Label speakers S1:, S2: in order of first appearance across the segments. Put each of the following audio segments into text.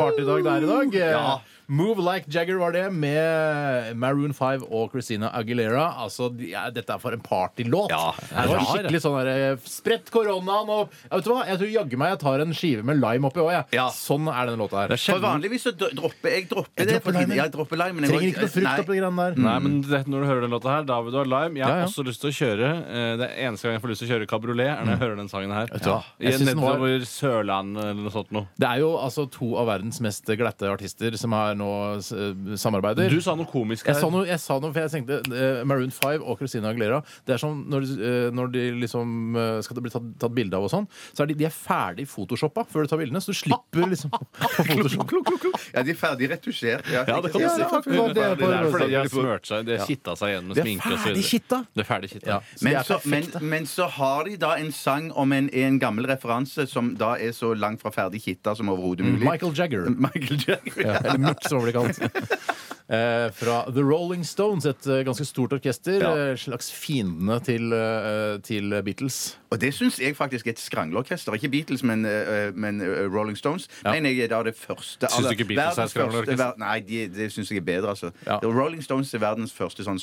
S1: partydag det er i dag. Eh,
S2: Ja.
S1: Move Like Jagger var det, med Maroon 5 og Christina Aguilera. Altså, de- ja, Dette er for en partylåt.
S2: Ja,
S1: det
S2: det
S1: var
S2: er rar.
S1: skikkelig sånn derre Spredt koronaen og ja, Vet du hva, jeg tror jaggu meg jeg tar en skive med lime oppi òg, jeg.
S2: Ja.
S1: Sånn er denne låta her.
S3: Det er
S2: For
S3: sjelden
S2: vanligvis så dro- dropper jeg dropper
S1: Jeg
S2: det.
S1: dropper
S2: for tiden.
S1: limen.
S2: Ja, jeg dropper limen. Jeg
S1: Trenger
S2: må-
S1: ikke noe frukt
S2: Nei.
S1: oppi greiene der.
S3: Nei, men det, når du hører den låta her, da vil du ha lime. Jeg har
S1: Ja, ja.
S3: også lyst til å kjøre eh, Det er eneste gang jeg får lyst til å kjøre kabriolet, er når jeg hører den sangen her.
S1: Mm. du hva?
S3: Ja.
S1: Jeg synes den var-
S3: Nedover Sørlandet eller noe sånt noe.
S1: Det er jo altså to av verdens mest glatte artister som her nå eh, samarbeider.
S3: Du sa noe komisk
S1: jeg
S3: her.
S1: sa,
S2: Eh,
S1: noe, jeg sa noe, for jeg tenkte eh, Maroon 5 og Christina Aguilera Det er som når, eh, når de liksom eh, skal bli tatt, tatt bilde av og sånn, så er de, de er ferdig photoshoppa før du tar bildene, så du slipper liksom å photoshoppe.
S2: Ja, de er ferdig retusjert.
S3: Ja, det kan du
S1: Ja,
S3: si.
S1: det er akkurat det jeg
S3: Det er fordi de har
S1: prøver
S3: smørt seg, de har kitta seg igjen med
S1: De er
S3: sminke og så
S1: ferdig
S3: videre.
S1: kitta.
S3: Det er ferdig kitta.
S1: Ja.
S3: Ja.
S1: Så de
S2: Men
S1: er
S2: så, men,
S1: perfekte.
S2: men så har de da en sang om en, en gammel referanse som da er så langt fra ferdig kitta som overhodet
S3: Mm.
S2: mulig.
S1: Michael Jagger.
S2: Michael Jackson.
S1: Ja, eller Murt, som det blir kalt. Eh, fra The Rolling Stones, et eh, ganske stort orkester.
S2: Ja.
S1: eh, Slags fiendene til, eh, til Beatles.
S2: Og det syns jeg faktisk er et skrangleorkester. Ikke Beatles, men, øh, men øh, Rolling Stones. Men jeg er da det første
S3: Syns du ikke Beatles er
S2: verdens
S3: et skrangleorkester?
S2: første- ver- Nei, de, det syns jeg er bedre, altså.
S1: Ja.
S2: Rolling Stones er verdens første sånn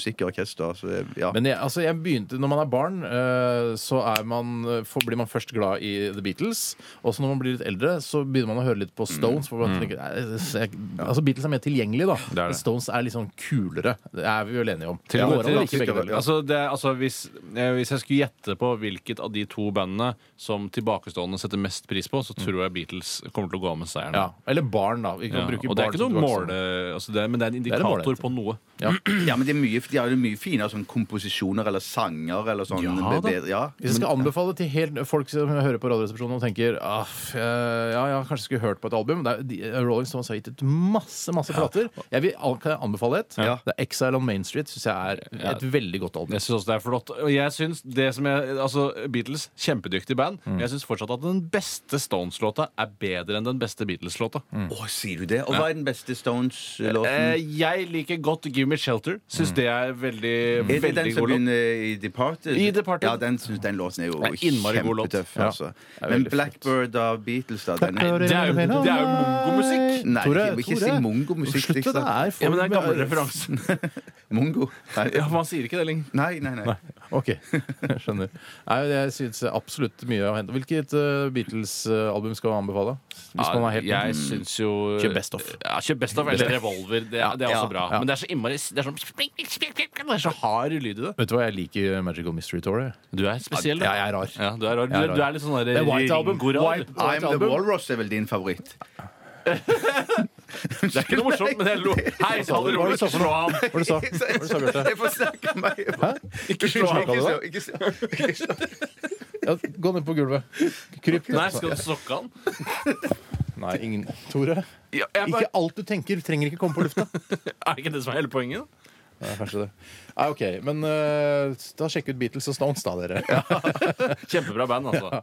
S2: studentmusikkorkester. Så, det- ja.
S1: Men jeg, altså jeg begynte, når man er barn, eh, så er man, eh, får- blir man først glad i The Beatles. Og så når man blir litt eldre, så begynner man å høre litt
S3: Mm.
S1: på Stones. For man tenker, nei, det- jeg, altså Beatles er mer tilgjengelig, da.
S3: det.
S1: Men Stones er litt sånn kulere. Det er vi vel enige om.
S3: Til
S1: Det
S3: og med
S1: går an å like
S3: til-
S1: begge deler.
S3: altså, det, er- altså, hvis, eh, hvis jeg skulle gjette på hvilket av de to bandene som tilbakestående setter mest pris på, så tror jeg Beatles kommer til å gå av med seieren.
S1: Mm. Ja, eller barn, da. Vi kan
S3: Ja,
S1: bruke
S3: og det er
S1: barn
S3: ikke
S1: som
S3: noe
S1: tilbakestående.
S3: måle, altså det, er- men det er en
S1: er en
S3: indikator
S1: målenhet.
S3: på noe.
S2: ja, men det er mye, de har jo mye finere sånn komposisjoner eller sanger eller sånn.
S3: Ja, da.
S2: bedre- ja.
S1: Hvis jeg skal anbefale til helt folk som hører på Radioresepsjonen og tenker ah, f- eh, ja, ja, kanskje skulle hørt på et album det er, de, eh, Rolling Stones har gitt ut masse masse plater. Jeg vil, an- kan jeg anbefale et.
S3: Ja.
S1: Det er Exile on Main Street. Synes jeg er et veldig godt album.
S3: Jeg syns også det er flott. Og jeg synes det som jeg, altså Beatles, kjempedyktig band. Men jeg syns fortsatt at den beste Stones-låta er bedre enn den beste Beatles-låta.
S2: Å, sier du det? Og hva er den beste
S3: Eh,
S2: Stones-låten?
S3: jeg liker godt Give Me Shelter. Syns det er veldig,
S2: er det den
S3: veldig
S2: som
S3: god låt.
S2: begynner i Departed?
S3: I Departed.
S2: Ja, den, synes- den låten er jo
S3: Det er innmari god låt.
S2: kjempetøff.
S1: Ja.
S2: Altså.
S1: er veldig
S2: Men
S1: flott.
S2: Blackbird av Beatles, da? Den er,
S3: det er jo- det er jo mongomusikk.
S2: Nei, ikke- ikke si mongomusikk,
S1: Slutt med det
S2: liksom.
S1: her.
S3: Ja, men det er en gammel referanse.
S2: Mongo? Nei.
S3: Ja, man sier ikke det lenger.
S2: Nei, nei, nei.
S1: OK, jeg skjønner. Nei, jeg syns absolutt mye å hente. Hvilket eh, Beatles-album skal man anbefale? Hvis man er helt
S3: jeg syns jo
S1: Kjør Best Of.
S3: Ja, Mm. kjør Best Of eller Revolver. Det, er- det er
S2: Ja,
S3: også bra.
S1: ja.
S3: Men det er så innmari Det er sånn Det er så hard lyd i det.
S1: Vet du hva, jeg liker Magical Mystery Tour. jeg.
S3: Du er spesiell. da.
S1: Ja, jeg er rar.
S3: Ja, du er rar. Du,
S1: Jeg er rar.
S3: du er litt sånn der
S1: Det er White Album.
S3: Ringo-rar.
S1: White-
S3: Ah,
S2: I'm the
S1: album.
S2: Walrus er vel din favoritt?
S3: Det er ikke noe morsomt, men jeg lo. Hei, sa det
S1: Hva var det
S3: rolig.
S1: du sa for noe?
S3: Slå ham.
S1: Hva var det du sa? Hva var det du sa, Bjarte?
S2: Jeg får snakke meg Ikke
S1: slå han,
S2: Ikke
S1: kaller
S2: slå- ikke slå- ikke slå.
S1: Ja, gå ned på gulvet. Kryp ned.
S3: Nei, skal du sokke han?
S1: Nei, ingen. Tore,
S3: Ja, jeg bare,
S1: ikke alt du tenker, trenger ikke komme på lufta.
S3: er det ikke det som er hele poenget?
S1: Nei, kanskje det. Nei, OK. Men eh, da sjekk ut Beatles og Stones, da, dere.
S3: Kjempebra band, altså.